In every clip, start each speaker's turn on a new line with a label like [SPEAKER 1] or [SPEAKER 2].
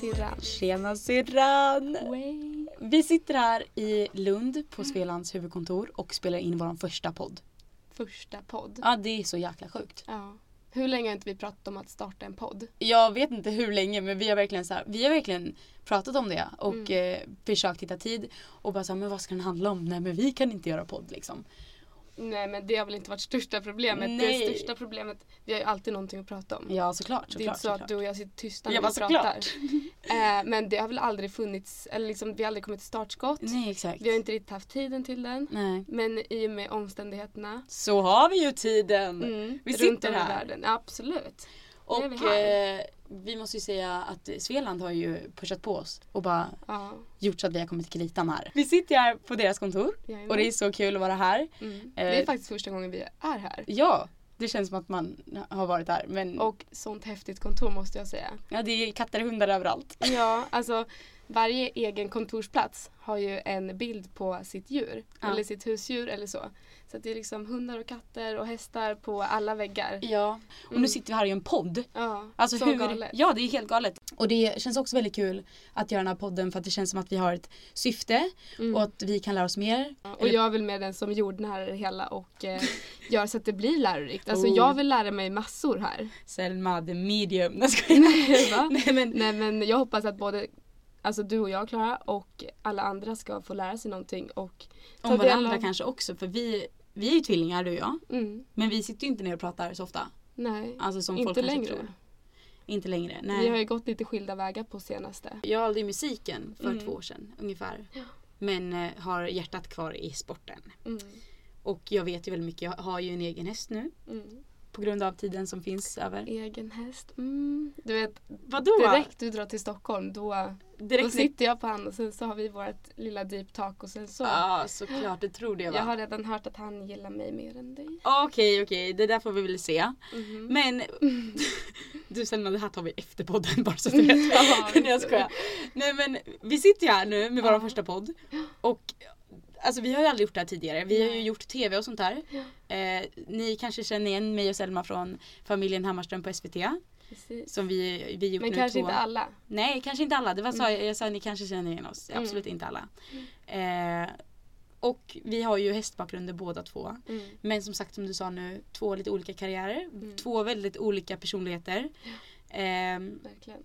[SPEAKER 1] syrran.
[SPEAKER 2] Tjena syrran!
[SPEAKER 1] Way.
[SPEAKER 2] Vi sitter här i Lund på Svelands huvudkontor och spelar in vår första podd.
[SPEAKER 1] Första podd.
[SPEAKER 2] Ja, det är så jäkla sjukt.
[SPEAKER 1] Ja. Hur länge har inte vi pratat om att starta en podd?
[SPEAKER 2] Jag vet inte hur länge men vi har verkligen, så här, vi har verkligen pratat om det och
[SPEAKER 1] Mm.
[SPEAKER 2] eh, försökt hitta tid och bara så här, men vad ska den handla om? Nej men vi kan inte göra podd liksom.
[SPEAKER 1] Nej men det har väl inte varit största problemet.
[SPEAKER 2] Nej.
[SPEAKER 1] Det största problemet, vi har ju alltid någonting att prata om.
[SPEAKER 2] Ja såklart,
[SPEAKER 1] Mm. det är
[SPEAKER 2] såklart.
[SPEAKER 1] inte så att
[SPEAKER 2] såklart.
[SPEAKER 1] du och jag sitter tysta när
[SPEAKER 2] Jag
[SPEAKER 1] vi
[SPEAKER 2] bara,
[SPEAKER 1] pratar. Eh, men det har väl aldrig funnits, eller liksom vi har aldrig kommit till startskott.
[SPEAKER 2] Nej exakt.
[SPEAKER 1] Vi har inte riktigt haft tiden till den.
[SPEAKER 2] Nej.
[SPEAKER 1] Men i och med omständigheterna
[SPEAKER 2] Så har vi ju tiden!
[SPEAKER 1] mm,
[SPEAKER 2] Vi
[SPEAKER 1] runt
[SPEAKER 2] sitter
[SPEAKER 1] om i
[SPEAKER 2] här.
[SPEAKER 1] världen. Absolut.
[SPEAKER 2] Och
[SPEAKER 1] är vi här.
[SPEAKER 2] eh, vi måste ju säga att Svealand har ju pushat på oss och bara
[SPEAKER 1] Ja.
[SPEAKER 2] gjort så att vi har kommit till kritan här. Vi sitter ju här på deras kontor
[SPEAKER 1] Jajamän.
[SPEAKER 2] och det är så kul att vara här.
[SPEAKER 1] Mm. Det är
[SPEAKER 2] Eh,
[SPEAKER 1] faktiskt första gången vi är här.
[SPEAKER 2] Ja, det känns som att man har varit här men
[SPEAKER 1] Och sånt häftigt kontor måste jag säga.
[SPEAKER 2] ja, det är katter och hundar överallt.
[SPEAKER 1] Ja, alltså varje egen kontorsplats har ju en bild på sitt djur.
[SPEAKER 2] Ja.
[SPEAKER 1] Eller sitt husdjur eller så. Så att det är liksom hundar och katter och hästar på alla väggar.
[SPEAKER 2] Ja. Och nu sitter vi här i en podd.
[SPEAKER 1] Ja,
[SPEAKER 2] Alltså
[SPEAKER 1] så
[SPEAKER 2] hur...
[SPEAKER 1] galet.
[SPEAKER 2] Ja, det är helt galet. Och det känns också väldigt kul att göra den här podden för att det känns som att vi har ett syfte och att vi kan lära oss mer.
[SPEAKER 1] Och jag är väl med den som jordnärar det hela och eh, gör så att det blir lärorikt. Alltså
[SPEAKER 2] Oh.
[SPEAKER 1] jag vill lära mig massor här.
[SPEAKER 2] Selma the medium. Nej, jag skojar.
[SPEAKER 1] Va?
[SPEAKER 2] Nej men
[SPEAKER 1] Nej men jag hoppas att både alltså, du och jag Klara och alla andra ska få lära sig någonting och ta
[SPEAKER 2] om
[SPEAKER 1] del
[SPEAKER 2] varandra
[SPEAKER 1] av-
[SPEAKER 2] kanske också för vi, vi är ju tvillingar du och jag.
[SPEAKER 1] Mm,
[SPEAKER 2] Men vi sitter ju inte ner och pratar så ofta.
[SPEAKER 1] nej.
[SPEAKER 2] Alltså som folk
[SPEAKER 1] Inte
[SPEAKER 2] kanske
[SPEAKER 1] längre.
[SPEAKER 2] tror. Inte längre.
[SPEAKER 1] Vi
[SPEAKER 2] Nej.
[SPEAKER 1] har ju gått lite skilda vägar på senaste.
[SPEAKER 2] Jag valde ju musiken för
[SPEAKER 1] Mm.
[SPEAKER 2] två år sedan ungefär. Men eh, har hjärtat kvar i sporten.
[SPEAKER 1] Mm.
[SPEAKER 2] Och jag vet ju väldigt mycket. Jag har ju en egen häst nu.
[SPEAKER 1] Mm.
[SPEAKER 2] På grund av tiden som finns över.
[SPEAKER 1] Egen häst. Mm. Du vet,
[SPEAKER 2] Vadå?
[SPEAKER 1] direkt du drar till Stockholm då, då
[SPEAKER 2] Direkt
[SPEAKER 1] sitter jag på han och sen så har vi vårt lilla deep talk och sen så.
[SPEAKER 2] Ja, såklart. Det trodde jag
[SPEAKER 1] Jag
[SPEAKER 2] va.
[SPEAKER 1] har redan hört att han gillar mig mer än dig.
[SPEAKER 2] Okej, okej. Det där får vi väl se.
[SPEAKER 1] Mhm.
[SPEAKER 2] Men du Selma, det här tar vi efter podden bara så att du vet.
[SPEAKER 1] Ja,
[SPEAKER 2] Nej jag skojar. Nej men vi sitter ju här nu med vår
[SPEAKER 1] Ja.
[SPEAKER 2] första podd. Och alltså vi har ju aldrig gjort det här tidigare. Vi har ju
[SPEAKER 1] Nej.
[SPEAKER 2] gjort tv och sånt där. Eh, ni kanske känner igen mig och Selma från familjen Hammarström på SVT.
[SPEAKER 1] Precis.
[SPEAKER 2] Som vi, vi gjort
[SPEAKER 1] Men
[SPEAKER 2] nu
[SPEAKER 1] kanske
[SPEAKER 2] två.
[SPEAKER 1] inte alla.
[SPEAKER 2] Nej kanske inte alla. Det var så jag sa, ni kanske känner igen oss.
[SPEAKER 1] Mm.
[SPEAKER 2] Absolut inte alla. Eh, och vi har ju hästbakgrunder båda två.
[SPEAKER 1] Mm.
[SPEAKER 2] Men som sagt som du sa nu, två lite olika karriärer.
[SPEAKER 1] Mm.
[SPEAKER 2] Två väldigt olika personligheter. Ehm,
[SPEAKER 1] Verkligen.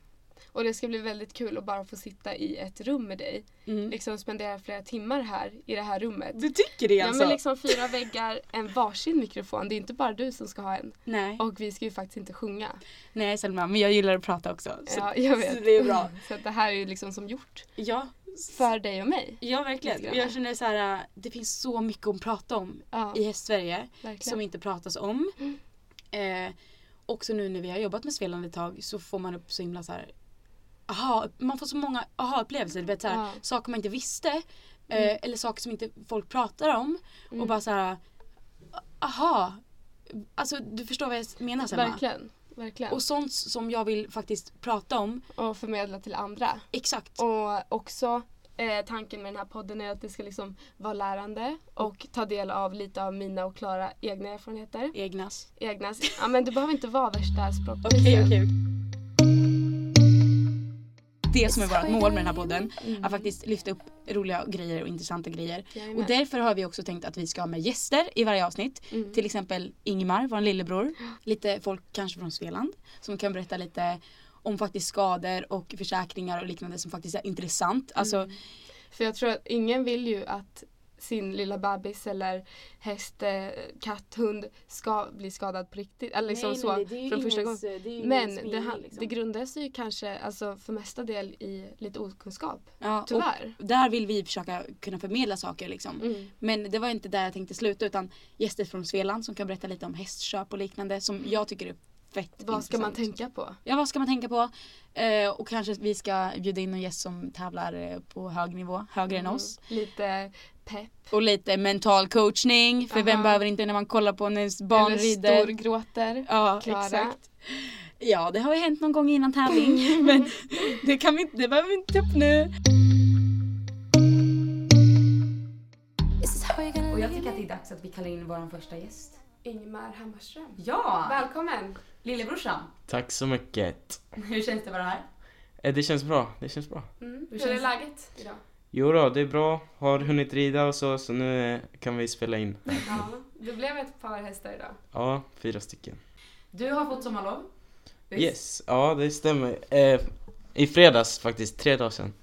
[SPEAKER 1] Och det ska bli väldigt kul att bara få sitta i ett rum med dig.
[SPEAKER 2] mm.
[SPEAKER 1] Liksom spendera flera timmar här i det här rummet.
[SPEAKER 2] Du tycker det
[SPEAKER 1] Ja
[SPEAKER 2] alltså?
[SPEAKER 1] men liksom fyra väggar, en varsin mikrofon. Det är inte bara du som ska ha en.
[SPEAKER 2] Nej.
[SPEAKER 1] Och vi ska ju faktiskt inte sjunga.
[SPEAKER 2] Nej Selma, men jag gillar att prata också. Så,
[SPEAKER 1] Ja, jag
[SPEAKER 2] så
[SPEAKER 1] vet.
[SPEAKER 2] det är bra.
[SPEAKER 1] Så att det här är ju liksom som gjort
[SPEAKER 2] Ja,
[SPEAKER 1] för dig och mig.
[SPEAKER 2] ja verkligen.
[SPEAKER 1] Lite grann.
[SPEAKER 2] Jag känner så här, äh, det finns så mycket att prata om
[SPEAKER 1] Ja,
[SPEAKER 2] i Hästsverige
[SPEAKER 1] verkligen.
[SPEAKER 2] som inte pratas om. Eh, också nu när vi har jobbat med Svealand ett tag så får man upp så himla så här, aha, man får så många aha-upplevelser. Du vet, så här,
[SPEAKER 1] Ja.
[SPEAKER 2] Saker man inte visste eh, eller saker som inte folk pratar om. Och bara så här, aha. Alltså du förstår vad jag menar Selma?
[SPEAKER 1] verkligen. Verkligen.
[SPEAKER 2] Och sånt som jag vill faktiskt prata om.
[SPEAKER 1] Och förmedla till andra.
[SPEAKER 2] Exakt.
[SPEAKER 1] Och också eh, tanken med den här podden är att det ska liksom vara lärande och ta del av lite av mina och Klara egna erfarenheter.
[SPEAKER 2] Egnas.
[SPEAKER 1] Egna. Ja men du behöver inte vara värsta språkproffset.
[SPEAKER 2] Okej, okej. Det som är vårt mål med den här podden. Att faktiskt lyfta upp roliga grejer och intressanta grejer.
[SPEAKER 1] Mm. Jajamän.
[SPEAKER 2] Och därför har vi också tänkt att vi ska ha med gäster i varje avsnitt.
[SPEAKER 1] Mm.
[SPEAKER 2] Till exempel Ingmar, vår lillebror. Lite folk kanske från Svealand. Som kan berätta lite om faktiskt skador och försäkringar och liknande som faktiskt är intressant. Alltså,
[SPEAKER 1] Mm. För jag tror att ingen vill ju att sin lilla bebis eller häst, eh, katt, hund ska bli skadad på riktigt. Eller liksom så från första gången. Men det, ha- det grundar sig ju kanske alltså, för mesta del i lite okunskap.
[SPEAKER 2] Ja,
[SPEAKER 1] Tyvärr.
[SPEAKER 2] Och där vill vi försöka kunna förmedla saker liksom.
[SPEAKER 1] Mm.
[SPEAKER 2] Men det var inte där jag tänkte sluta utan gäster från Svealand som kan berätta lite om hästköp och liknande som jag tycker är fett
[SPEAKER 1] Vad ska man
[SPEAKER 2] intressant.
[SPEAKER 1] tänka på?
[SPEAKER 2] Ja vad ska man tänka på? Eh, och kanske vi ska bjuda in någon gäst som tävlar eh, på hög nivå, högre än oss.
[SPEAKER 1] Mm. Lite pepp.
[SPEAKER 2] Och lite mental coachning för vem
[SPEAKER 1] Aha.
[SPEAKER 2] behöver inte när man kollar på när ens barn
[SPEAKER 1] Eller
[SPEAKER 2] rider.
[SPEAKER 1] storgråter.
[SPEAKER 2] Ja
[SPEAKER 1] Klara.
[SPEAKER 2] exakt. Ja det har ju hänt någon gång innan tävling men det, kan vi, inte- det behöver vi inte ta upp nu. Och jag tycker att det är dags att vi kallar in vår första gäst.
[SPEAKER 1] Ingmar Hammarström.
[SPEAKER 2] Ja!
[SPEAKER 1] Välkommen!
[SPEAKER 2] Lillebrorsan,
[SPEAKER 3] Tack så mycket.
[SPEAKER 2] hur känns det att vara här?
[SPEAKER 3] Eh, Det känns bra, det känns bra.
[SPEAKER 4] Mm. Hur,
[SPEAKER 1] Hur
[SPEAKER 4] är
[SPEAKER 1] känns-
[SPEAKER 4] läget idag?
[SPEAKER 3] Jo då, det är bra. Har hunnit rida och så, så nu eh, kan vi spela in.
[SPEAKER 4] Ja, det blev ett par hästar idag.
[SPEAKER 3] Ja, fyra stycken.
[SPEAKER 2] Du har fått sommarlov. Visst?
[SPEAKER 3] Yes, ja det stämmer. Eh, I fredags faktiskt, tre dagar sedan.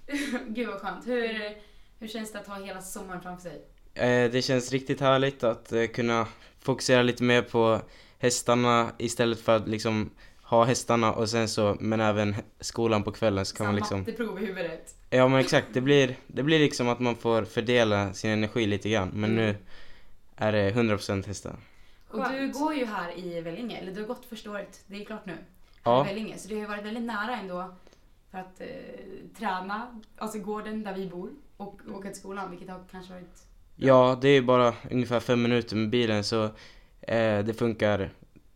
[SPEAKER 2] Gud vad skönt. Hur, hur känns det att ha hela sommaren framför sig?
[SPEAKER 3] Eh, det känns riktigt härligt att eh, kunna fokusera lite mer på hästarna istället för att liksom ha hästarna och sen så, men även he- skolan på kvällen så kan man liksom
[SPEAKER 2] matteprov i huvudet.
[SPEAKER 3] Ja men exakt, det blir, det blir liksom att man får fördela sin energi lite grann men nu är det 100% hästar.
[SPEAKER 2] Och du
[SPEAKER 4] Skönt.
[SPEAKER 2] går ju här i Vellinge, eller du har gått första året, det är klart nu. Här
[SPEAKER 3] Ja.
[SPEAKER 2] i Vellinge, så du har ju varit väldigt nära ändå för att eh, träna, alltså gården där vi bor och åka till skolan vilket har kanske varit...
[SPEAKER 3] Ja, det är ju bara ungefär fem minuter med bilen så eh, det funkar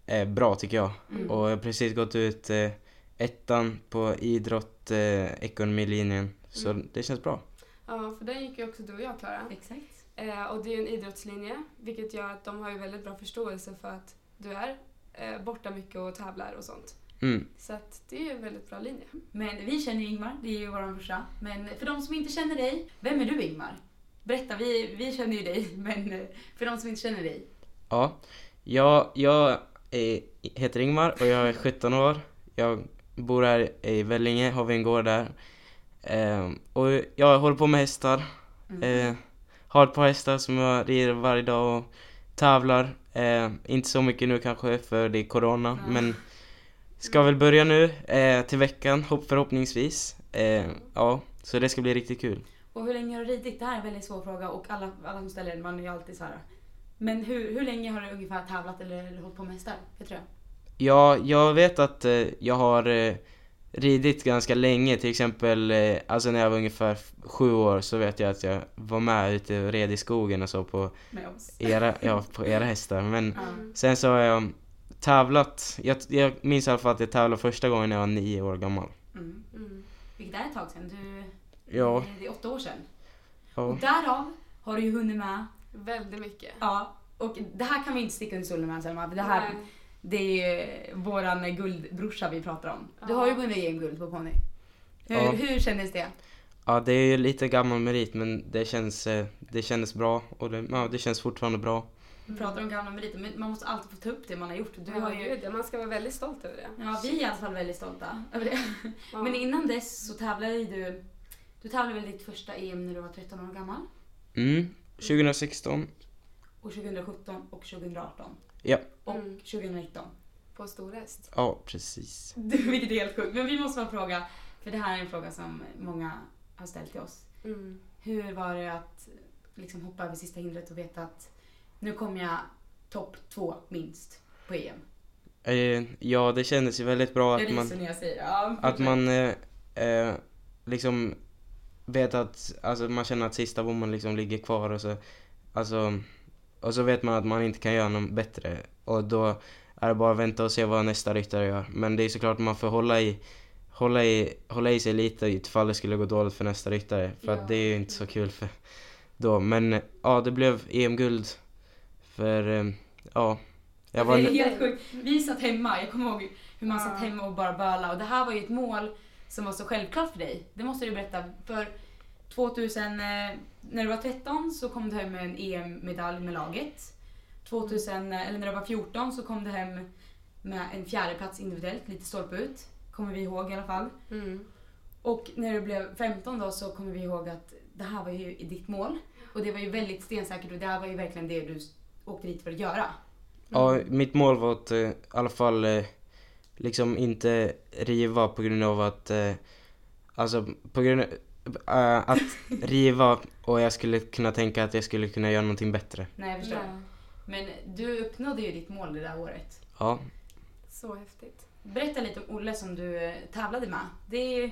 [SPEAKER 3] eh, bra tycker jag. Och jag har precis gått ut eh, ettan på idrott, eh, ekonomilinjen. Så det känns bra.
[SPEAKER 4] Ja, för den gick ju också du och jag Klara.
[SPEAKER 2] Exakt.
[SPEAKER 4] Eh, och det är ju en idrottslinje vilket gör att de har ju väldigt bra förståelse för att du är eh, borta mycket och tävlar och sånt.
[SPEAKER 3] Mm.
[SPEAKER 4] Så att det är ju en väldigt bra linje.
[SPEAKER 2] Men vi känner ju Ingmar, det är ju vår brorsa. Men för de som inte känner dig, vem är du Ingmar? Berätta, vi, vi känner ju dig, men eh, för de som inte känner dig.
[SPEAKER 3] Ja, jag, jag eh, heter Ingmar och jag är 17 år. Jag bor här i Vellinge, har vi en gård där. Ehm, och jag håller på med hästar. Eh, har ett par hästar som jag rider varje dag och tävlar. Eh, inte så mycket nu kanske för det är corona, men ska väl börja nu eh, till veckan hopp- förhoppningsvis. Eh, ja, så det ska bli riktigt kul.
[SPEAKER 2] Och hur länge har du ridit? Det här är en väldigt svår fråga och alla, alla som ställer den, man är ju alltid så här. Men hur, hur länge har du ungefär tävlat eller hållit på med hästar? Det tror jag.
[SPEAKER 3] Ja, jag vet att eh, jag har eh, ridit ganska länge, till exempel eh, alltså när jag var ungefär f- sju år så vet jag att jag var med ute och red i skogen och så på
[SPEAKER 2] Med oss.
[SPEAKER 3] era, ja, på era hästar. Men
[SPEAKER 2] Ja.
[SPEAKER 3] sen så har jag tävlat, jag, jag minns i alla fall att jag tävlade första gången när jag var nio år gammal.
[SPEAKER 2] Mm.
[SPEAKER 4] Mm.
[SPEAKER 2] Vilket är ett tag sedan. Du,
[SPEAKER 3] Ja,
[SPEAKER 2] Det är åtta år sedan.
[SPEAKER 3] ja.
[SPEAKER 2] Och därav har du ju hunnit med.
[SPEAKER 4] Väldigt mycket.
[SPEAKER 2] Ja. Och det här kan vi inte sticka under stolen med Selma. för Det här
[SPEAKER 4] Nej.
[SPEAKER 2] det är ju våran guldbrorsa vi pratar om. Du har ju vunnit EM-guld på ponny. Hur,
[SPEAKER 3] Ja.
[SPEAKER 2] hur kändes det?
[SPEAKER 3] ja det är ju lite gammal merit men det känns, eh, det kändes bra och det, ja, det känns fortfarande bra.
[SPEAKER 2] Vi pratar om gamla meriter men man måste alltid få ta upp det man har gjort. Du
[SPEAKER 4] Du
[SPEAKER 2] har
[SPEAKER 4] har
[SPEAKER 2] ju,
[SPEAKER 4] ju, man ska vara väldigt stolt över det.
[SPEAKER 2] ja, vi är i alla fall väldigt stolta över det.
[SPEAKER 4] Ja.
[SPEAKER 2] Men innan dess så tävlade ju du, du tävlade väl ditt första EM när du var 13 år gammal?
[SPEAKER 3] Mm, 2016.
[SPEAKER 2] Och 2017 och 2018
[SPEAKER 3] Ja,
[SPEAKER 2] och
[SPEAKER 4] Mm.
[SPEAKER 2] 2019.
[SPEAKER 4] På stor häst.
[SPEAKER 3] ja precis.
[SPEAKER 2] Du, vilket är helt sjukt. Men vi måste bara fråga, för det här är en fråga som många har ställt till oss.
[SPEAKER 4] Mm.
[SPEAKER 2] Hur var det att liksom hoppa över sista hindret och veta att nu kommer jag topp två minst på EM?
[SPEAKER 3] Eh, ja, det kändes ju väldigt bra
[SPEAKER 2] Jag
[SPEAKER 3] att man...
[SPEAKER 2] ryser när jag säger det. Ja,
[SPEAKER 3] Att man eh, eh, liksom vet att, alltså man känner att sista bommen liksom ligger kvar och så, alltså, och så vet man att man inte kan göra något bättre och då är det bara att vänta och se vad nästa ryttare gör. Men det är såklart man får hålla i, hålla i, hålla i sig lite ifall det skulle gå dåligt för nästa ryttare
[SPEAKER 2] Ja.
[SPEAKER 3] för att det är ju inte så kul för då. Men eh, ja, det blev EM-guld för, eh, ja. Jag
[SPEAKER 2] Det
[SPEAKER 3] var,
[SPEAKER 2] är helt sjukt. Vi satt hemma, jag kommer ihåg hur man satt
[SPEAKER 4] Ja.
[SPEAKER 2] hemma och bara böla. Och det här var ju ett mål som var så självklart för dig. Det måste du berätta. För 2000, eh, när du var 13 så kom du hem med en EM-medalj med laget. 2000, eh, eller när du var 14 så kom du hem med en fjärdeplats individuellt, lite stolpe ut. Kommer vi ihåg i alla fall.
[SPEAKER 4] Mm.
[SPEAKER 2] Och när du blev 15 då så kommer vi ihåg att det här var ju ditt mål. Och det var ju väldigt stensäkert och det här var ju verkligen det du s- åkte dit för att göra.
[SPEAKER 3] Ja,
[SPEAKER 4] Mm.
[SPEAKER 3] mitt mål var att eh, i alla fall eh, liksom inte riva på grund av att eh, alltså på grund eh, att riva och jag skulle kunna tänka att jag skulle kunna göra någonting bättre.
[SPEAKER 2] Nej, jag förstår.
[SPEAKER 4] Ja.
[SPEAKER 2] Men du uppnådde ju ditt mål det där året.
[SPEAKER 3] Ja,
[SPEAKER 4] Så häftigt.
[SPEAKER 2] Berätta lite om Olle som du eh, tävlade med. Det är ju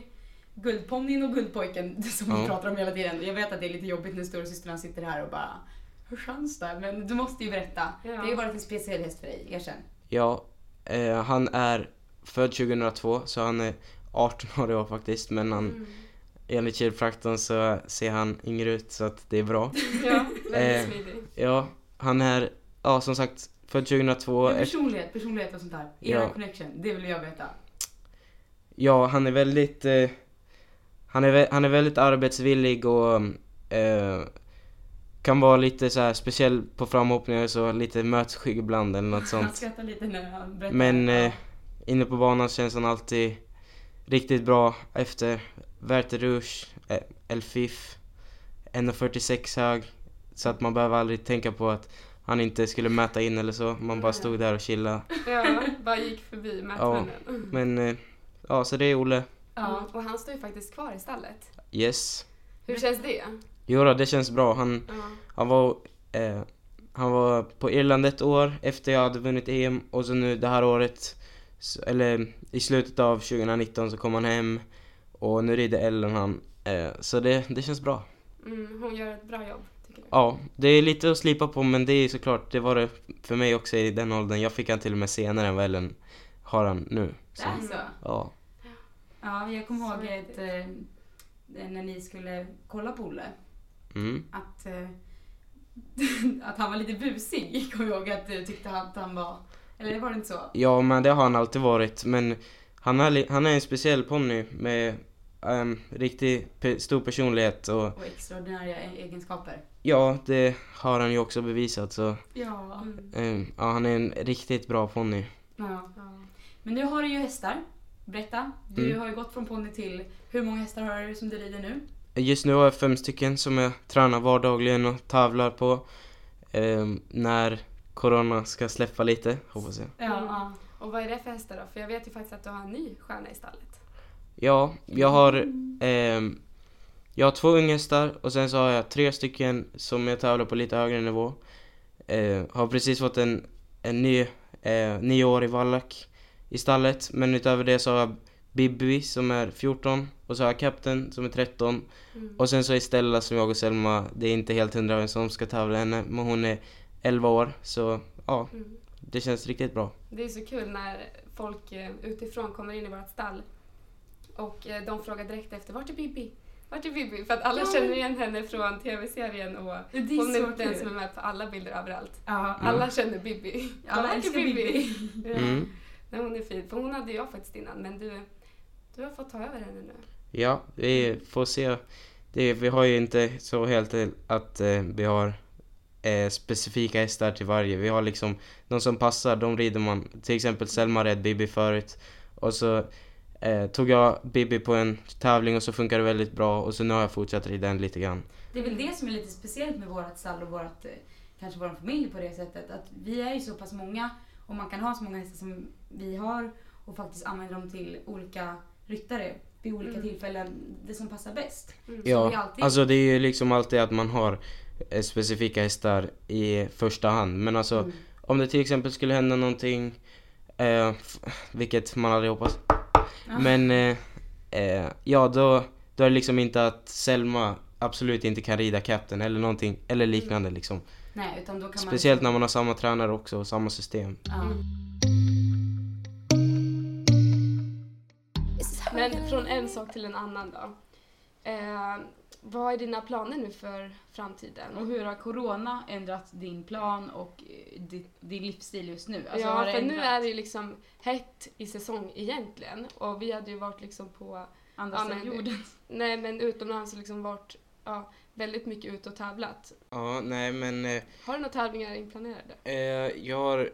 [SPEAKER 2] guldponnyn och guldpojken som vi
[SPEAKER 3] Ja.
[SPEAKER 2] pratar om hela tiden. Jag vet att det är lite jobbigt när storasystrarna sitter här och bara hur känns det? Men du måste ju berätta.
[SPEAKER 4] Ja.
[SPEAKER 2] Det har ju varit en speciell häst för dig, erkänn.
[SPEAKER 3] ja eh, han är född 2002 så han är 18 år i år faktiskt men han
[SPEAKER 4] Mm.
[SPEAKER 3] enligt kiropraktorn så ser han yngre ut så att det är bra.
[SPEAKER 4] Ja,
[SPEAKER 3] Eh.
[SPEAKER 4] väldigt smidig.
[SPEAKER 3] Ja, han är ja som sagt född 2002.
[SPEAKER 2] Men personlighet, personlighet och sånt där. Era
[SPEAKER 3] Ja.
[SPEAKER 2] connection, det vill jag veta.
[SPEAKER 3] Ja, han är väldigt eh, han, är, vä- han är väldigt arbetsvillig och eh, kan vara lite så här speciell på framhoppningar och så lite mötesskygg ibland eller något
[SPEAKER 1] Han
[SPEAKER 3] sånt.
[SPEAKER 1] skrattar lite när han berättar.
[SPEAKER 3] Men
[SPEAKER 1] Ja.
[SPEAKER 3] eh, inne på banan känns han alltid riktigt bra efter Werther Rush, eh, El Fif, 1,46 hög. Så att man behöver aldrig tänka på att han inte skulle mäta in eller så. Man bara stod där och chillade.
[SPEAKER 1] ja, bara gick förbi mätmännen.
[SPEAKER 3] Men eh, ja, så det är Olle.
[SPEAKER 1] Ja.
[SPEAKER 4] Mm.
[SPEAKER 1] Och han står ju faktiskt kvar i stallet.
[SPEAKER 3] Yes.
[SPEAKER 1] Hur känns det?
[SPEAKER 3] Jo då, det känns bra. Han,
[SPEAKER 1] Ja.
[SPEAKER 3] han, var, eh, han var på Irland ett år efter jag hade vunnit EM och så nu det här året, s- eller i slutet av 2019 så kom han hem och nu rider Ellen han. Eh, så det, det känns bra.
[SPEAKER 1] Mm, hon gör ett bra jobb, tycker du?
[SPEAKER 3] Ja, det är lite att slipa på men det är såklart, det var det för mig också i den åldern. Jag fick han till och med senare än vad Ellen har han nu. Så,
[SPEAKER 2] Där så.
[SPEAKER 3] ja.
[SPEAKER 2] Ja, jag kommer
[SPEAKER 1] Så
[SPEAKER 2] ihåg
[SPEAKER 1] häftigt.
[SPEAKER 2] ett, eh, när ni skulle kolla på Olle.
[SPEAKER 3] Mm.
[SPEAKER 2] Att, eh, att han var lite busig. Jag kommer ihåg att du tyckte att han var... Eller var det inte så?
[SPEAKER 3] Ja, men det har han alltid varit. Men han är, li- han är en speciell ponny med um, riktigt pe- stor personlighet och
[SPEAKER 2] Och extraordinära e- egenskaper.
[SPEAKER 3] ja, det har han ju också bevisat så
[SPEAKER 2] Ja.
[SPEAKER 3] ehm, ja, han är en riktigt bra ponny.
[SPEAKER 2] ja.
[SPEAKER 1] Ja.
[SPEAKER 2] Men nu har du ju hästar. Berätta. Du
[SPEAKER 3] Mm.
[SPEAKER 2] har ju gått från ponny till... Hur många hästar har du som du rider nu?
[SPEAKER 3] Just nu har jag fem stycken som jag tränar vardagligen och tävlar på ehm, när corona ska släppa lite, hoppas jag.
[SPEAKER 2] Ja.
[SPEAKER 1] Mm.
[SPEAKER 2] ja.
[SPEAKER 1] Och vad är det för hästar då? För jag vet ju faktiskt att du har en ny stjärna i stallet.
[SPEAKER 3] Ja, jag har ehm, Jag har två unghästar och sen så har jag tre stycken som jag tävlar på lite högre nivå. Eh, har precis fått en, en ny eh, nioårig vallack i stallet men utöver det så har jag Bibby som är 14 och så har jag Captain som är 13
[SPEAKER 1] Mm.
[SPEAKER 3] och sen så är Stella som jag och Selma, det är inte helt hundra vem som ska tävla henne men hon är 11 år så ja,
[SPEAKER 1] Mm.
[SPEAKER 3] det känns riktigt bra.
[SPEAKER 1] Det är så kul när folk eh, utifrån kommer in i vårt stall och eh, de frågar direkt efter vart är Bibi? Vart är Bibi? För att alla
[SPEAKER 2] Ja, men-
[SPEAKER 1] känner igen henne från tv-serien och
[SPEAKER 2] Det är
[SPEAKER 1] hon
[SPEAKER 2] så
[SPEAKER 1] är den
[SPEAKER 2] kul.
[SPEAKER 1] som är med på alla bilder överallt.
[SPEAKER 2] Ja, alla,
[SPEAKER 1] Alla känner Bibi.
[SPEAKER 2] alla
[SPEAKER 1] Vart är
[SPEAKER 2] älskar Bibi.
[SPEAKER 1] Ja.
[SPEAKER 3] Mm.
[SPEAKER 1] Nej, hon är fin. För hon hade jag faktiskt innan men du, du har fått ta över henne nu.
[SPEAKER 3] Ja, vi får se. Det, vi har ju inte så helt till att eh, vi har eh, specifika hästar till varje. Vi har liksom de som passar, de rider man. Till exempel Selma red Bibi förut och så eh, tog jag Bibi på en tävling och så funkar det väldigt bra och så nu har jag fortsatt rida den lite grann.
[SPEAKER 2] Det är väl det som är lite speciellt med vårt stall och vårt, eh, kanske vår familj på det sättet. Att vi är ju så pass många och man kan ha så många hästar som vi har och faktiskt använda dem till olika ryttare vid olika
[SPEAKER 1] Mm.
[SPEAKER 2] tillfällen. Det som passar bäst. vi
[SPEAKER 3] Ja,
[SPEAKER 2] alltid-
[SPEAKER 3] alltså det är ju liksom alltid att man har eh, specifika hästar i första hand. Men alltså
[SPEAKER 2] Mm.
[SPEAKER 3] om det till exempel skulle hända någonting, eh, f- vilket man aldrig hoppas. Men eh, eh, ja, då, då är det liksom inte att Selma absolut inte kan rida Captain eller någonting eller liknande liksom.
[SPEAKER 2] Nej, utan då Mm. kan
[SPEAKER 3] Speciellt
[SPEAKER 2] man...
[SPEAKER 3] när man har samma tränare också och samma system.
[SPEAKER 2] Ja.
[SPEAKER 1] Mm. Men från en sak till en annan då. Eh, vad är dina planer nu för framtiden?
[SPEAKER 5] Och hur har corona ändrat din plan och
[SPEAKER 6] eh,
[SPEAKER 5] din, din livsstil just nu? Alltså, har
[SPEAKER 1] ja,
[SPEAKER 5] det
[SPEAKER 1] för nu
[SPEAKER 5] ändrat
[SPEAKER 1] är det ju liksom hett i säsong egentligen. Och vi hade ju varit liksom på,
[SPEAKER 5] andra
[SPEAKER 1] ja,
[SPEAKER 5] sidan
[SPEAKER 1] men-
[SPEAKER 5] jorden?
[SPEAKER 1] nej men utomlands och liksom varit ja, väldigt mycket ute och tävlat.
[SPEAKER 3] Ja, nej men eh,
[SPEAKER 1] Har du några tävlingar inplanerade?
[SPEAKER 3] eh, jag har,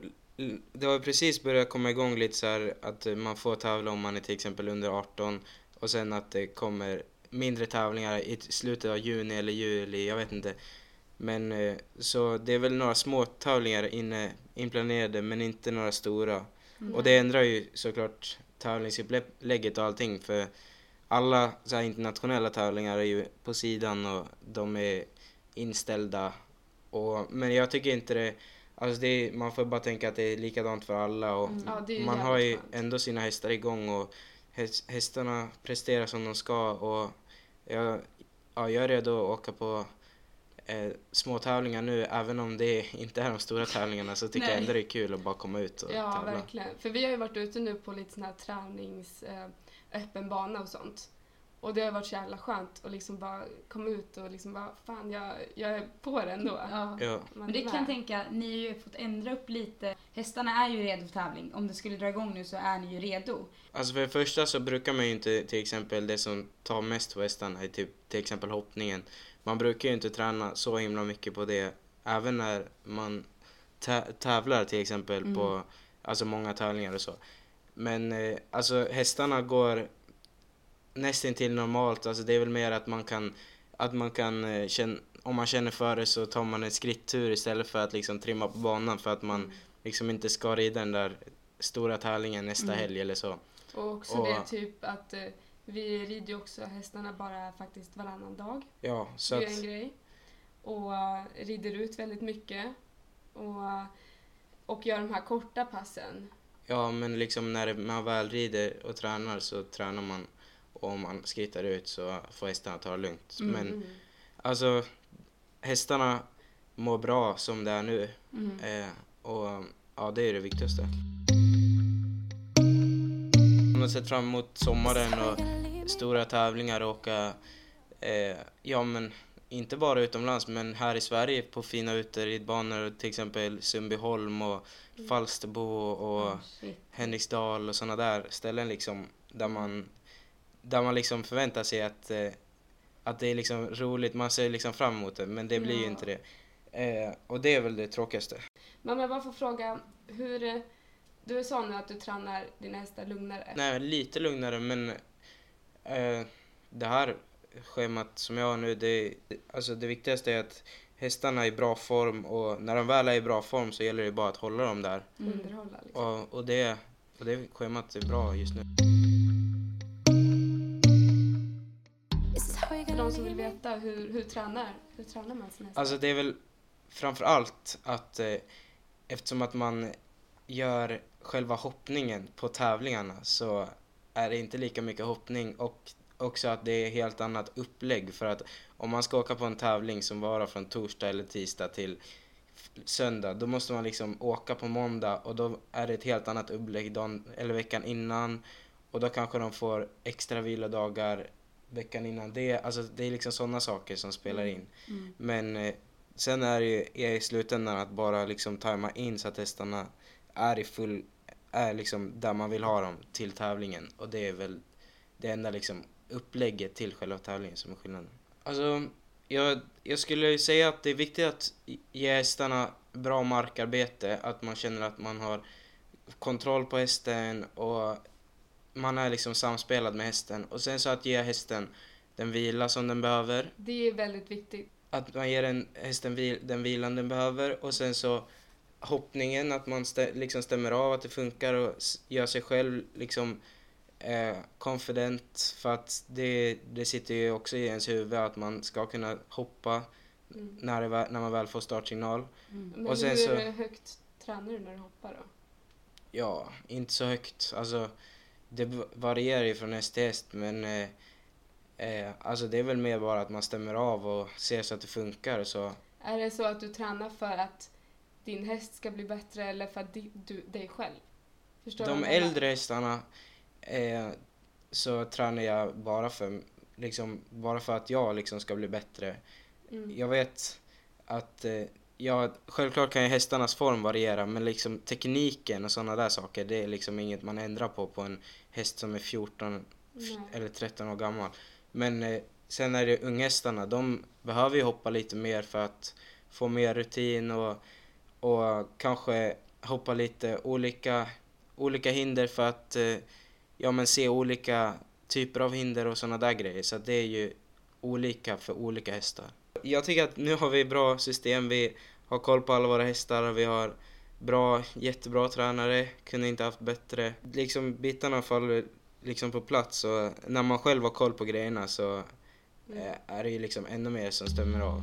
[SPEAKER 3] det har precis börjat komma igång lite så här att eh, man får tävla om man är till exempel under 18 och sen att det kommer mindre tävlingar i t- slutet av juni eller juli, jag vet inte. Men eh, så det är väl några små tävlingar inne, inplanerade men inte några stora. Och det ändrar ju såklart tävlingsupplägget och allting för alla så här internationella tävlingar är ju på sidan och de är inställda. Och, men jag tycker inte det, alltså det är, man får bara tänka att det är likadant för alla och
[SPEAKER 1] Mm.
[SPEAKER 6] Mm.
[SPEAKER 1] Ja, det är ju
[SPEAKER 3] man har ju
[SPEAKER 1] jävligt skönt.
[SPEAKER 3] ändå sina hästar igång och häst, hästarna presterar som de ska och jag, ja, jag är redo att åka på eh, små tävlingar nu även om det inte är de stora tävlingarna så tycker jag
[SPEAKER 2] Nej.
[SPEAKER 3] ändå det är kul att bara komma ut och
[SPEAKER 1] Ja,
[SPEAKER 3] tävla.
[SPEAKER 1] verkligen. För vi har ju varit ute nu på lite sån här tränings, eh, öppen bana och sånt. Och det har varit så jävla skönt att liksom bara komma ut och liksom bara fan jag, jag är på det ändå.
[SPEAKER 6] Ja.
[SPEAKER 3] Ja.
[SPEAKER 1] Man
[SPEAKER 6] Men det
[SPEAKER 1] är
[SPEAKER 6] kan jag
[SPEAKER 1] med.
[SPEAKER 6] tänka, ni har ju fått ändra upp lite. Hästarna är ju redo för tävling. Om det skulle dra igång nu så är ni ju redo.
[SPEAKER 3] Alltså för det första så brukar man ju inte till exempel det som tar mest på hästarna är typ till exempel hoppningen. Man brukar ju inte träna så himla mycket på det även när man tä- tävlar till exempel på alltså många tävlingar och så. Men eh, alltså hästarna går nästintill normalt, alltså det är väl mer att man kan, att man kan eh, känna, om man känner för det så tar man en skrittur istället för att liksom trimma på banan för att man liksom inte ska rida den där stora tävlingen nästa helg eller så.
[SPEAKER 1] Och också
[SPEAKER 3] Och-
[SPEAKER 1] det typ att eh, vi rider ju också hästarna bara faktiskt varannan dag.
[SPEAKER 3] Ja, så
[SPEAKER 1] det
[SPEAKER 3] att,
[SPEAKER 1] är en grej. Och eh, rider ut väldigt mycket. Och, eh, och gör de här korta passen.
[SPEAKER 3] ja men liksom när man väl rider och tränar så tränar man och om man skrittar ut så får hästarna ta det lugnt. Men
[SPEAKER 1] Mm.
[SPEAKER 3] alltså hästarna mår bra som det är nu eh, och ja, det är det viktigaste. Man har sett fram emot sommaren och stora tävlingar och åka, eh, ja men inte bara utomlands men här i Sverige på fina uteridbanor till exempel Sundbyholm och Falsterbo och
[SPEAKER 6] Shit.
[SPEAKER 3] Henriksdal och sådana där ställen liksom där man, där man liksom förväntar sig att, eh, att det är liksom roligt, man ser liksom fram emot det men det blir ju
[SPEAKER 1] Ja.
[SPEAKER 3] inte det. Eh, och det är väl det tråkigaste.
[SPEAKER 1] Mamma, jag bara får fråga, hur... eh, Du sa nu att du tränar dina hästar lugnare.
[SPEAKER 3] Nej, lite lugnare men eh, det här schemat som jag har nu, det, alltså det viktigaste är att hästarna är i bra form och när de väl är i bra form så gäller det bara att hålla dem där.
[SPEAKER 1] Underhålla liksom.
[SPEAKER 3] Och, och, det, och det schemat är bra just nu.
[SPEAKER 1] För de som vill veta, hur, hur, tränar, hur tränar man sina hästar?
[SPEAKER 3] Alltså det är väl framför allt att eh, eftersom att man gör själva hoppningen på tävlingarna så är det inte lika mycket hoppning och också att det är helt annat upplägg för att om man ska åka på en tävling som varar från torsdag eller tisdag till f- söndag då måste man liksom åka på måndag och då är det ett helt annat upplägg dagen, eller veckan innan och då kanske de får extra vilodagar veckan innan det. Alltså det är liksom sådana saker som spelar in. Men eh, sen är det ju är i slutändan att bara liksom tajma in så att hästarna är i full, är liksom där man vill ha dem till tävlingen. Och det är väl det enda liksom upplägget till själva tävlingen som är skillnaden. Alltså, jag, jag skulle ju säga att det är viktigt att ge hästarna bra markarbete, att man känner att man har kontroll på hästen och man är liksom samspelad med hästen. Och sen så att ge hästen den vila som den behöver
[SPEAKER 1] Det är väldigt viktigt.
[SPEAKER 3] att man ger den, hästen vil, den vilan den behöver och sen så hoppningen, att man stä, liksom stämmer av att det funkar och s- gör sig själv liksom eh, confident för att det, det sitter ju också i ens huvud att man ska kunna hoppa när, det, vä- när man väl får startsignal.
[SPEAKER 1] Men
[SPEAKER 3] Och sen
[SPEAKER 1] hur
[SPEAKER 3] så-
[SPEAKER 1] högt tränar du när du hoppar då?
[SPEAKER 3] Ja, inte så högt. Alltså, det b- varierar ju från häst till häst men eh, eh, alltså det är väl mer bara att man stämmer av och ser så att det funkar och så.
[SPEAKER 1] Är det så att du tränar för att din häst ska bli bättre eller för att di, du, dig själv? Förstår du
[SPEAKER 3] De
[SPEAKER 1] vad jag menar?
[SPEAKER 3] äldre hästarna eh, så tränar jag bara för, liksom, bara för att jag liksom ska bli bättre.
[SPEAKER 1] Mm.
[SPEAKER 3] Jag vet att eh, jag, självklart kan ju hästarnas form variera men liksom tekniken och sådana där saker det är liksom inget man ändrar på på en häst som är 14
[SPEAKER 1] Nej.
[SPEAKER 3] eller 13 år gammal. Men eh, sen är det unghästarna, de behöver ju hoppa lite mer för att få mer rutin och, och kanske hoppa lite olika, olika hinder för att eh, ja, men se olika typer av hinder och sådana där grejer. Så att det är ju olika för olika hästar. Jag tycker att nu har vi bra system, vi har koll på alla våra hästar, vi har bra, jättebra tränare, kunde inte haft bättre. Liksom bitarna faller liksom på plats och när man själv har koll på grejerna så eh, är det ju liksom ännu mer som stämmer av.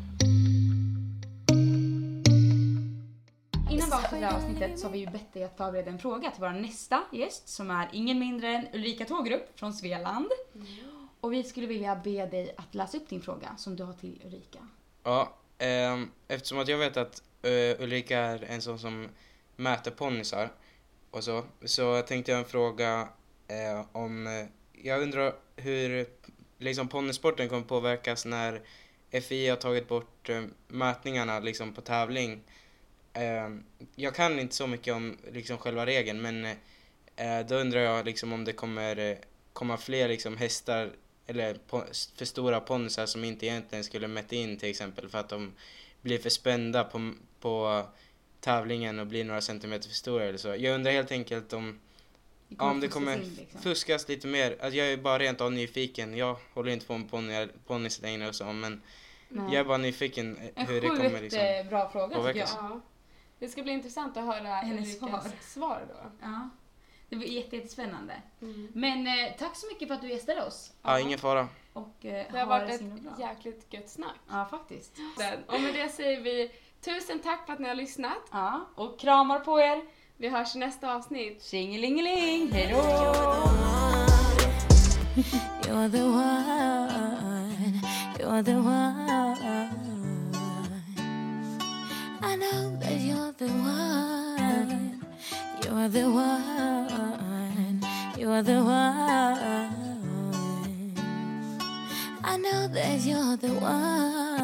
[SPEAKER 6] Innan vi avslutar det här avsnittet så har vi ju bett dig att förbereda en fråga till vår nästa gäst som är ingen mindre än Ulrika Tågrupp från Svealand.
[SPEAKER 1] Mm.
[SPEAKER 6] Och vi skulle vilja be dig att läsa upp din fråga som du har till Ulrika.
[SPEAKER 3] Ja, ehm, eftersom att jag vet att eh, Ulrika är en sån som mäter ponnysar och så, så tänkte jag en fråga eh, om, eh, jag undrar hur liksom ponnysporten kommer påverkas när FI har tagit bort eh, mätningarna liksom på tävling. Eh, jag kan inte så mycket om liksom själva regeln men eh, då undrar jag liksom om det kommer eh, komma fler liksom hästar eller po- för stora ponnysar som inte egentligen skulle mätt in till exempel för att de blir för spända på, på tävlingen och blir några centimeter för stora eller så. Jag undrar helt enkelt om Ja, om det kommer
[SPEAKER 2] fuskas in, liksom.
[SPEAKER 3] fuskas lite mer. Alltså, jag är bara rent av nyfiken. Jag håller inte på med ponny- ponnys längre och så men jag är bara nyfiken eh,
[SPEAKER 2] En
[SPEAKER 3] hur det kommer
[SPEAKER 2] sjukt
[SPEAKER 3] liksom.
[SPEAKER 2] eh, bra fråga tycker jag.
[SPEAKER 3] påverkas.
[SPEAKER 1] Ja. Det ska bli intressant att höra
[SPEAKER 2] Hennes
[SPEAKER 1] Ulrikas
[SPEAKER 2] svar.
[SPEAKER 1] svar då.
[SPEAKER 2] Ja. Det var jätte- jättespännande. Men eh, tack så mycket för att du gästade oss.
[SPEAKER 3] Ja, ingen fara.
[SPEAKER 2] Och eh,
[SPEAKER 1] Det har
[SPEAKER 2] ha
[SPEAKER 1] varit
[SPEAKER 2] det så himla
[SPEAKER 1] ett
[SPEAKER 2] bra.
[SPEAKER 1] jäkligt gött snack.
[SPEAKER 2] Ja, faktiskt.
[SPEAKER 1] Och med det säger vi tusen tack för att ni har lyssnat.
[SPEAKER 2] Ja, och kramar på er.
[SPEAKER 1] Vi hörs i nästa avsnitt.
[SPEAKER 2] Tjingelingeling, hejdå!
[SPEAKER 7] You're the one. You're the one. I know that you're the one. You're the one. You're the one. I know that you're the one.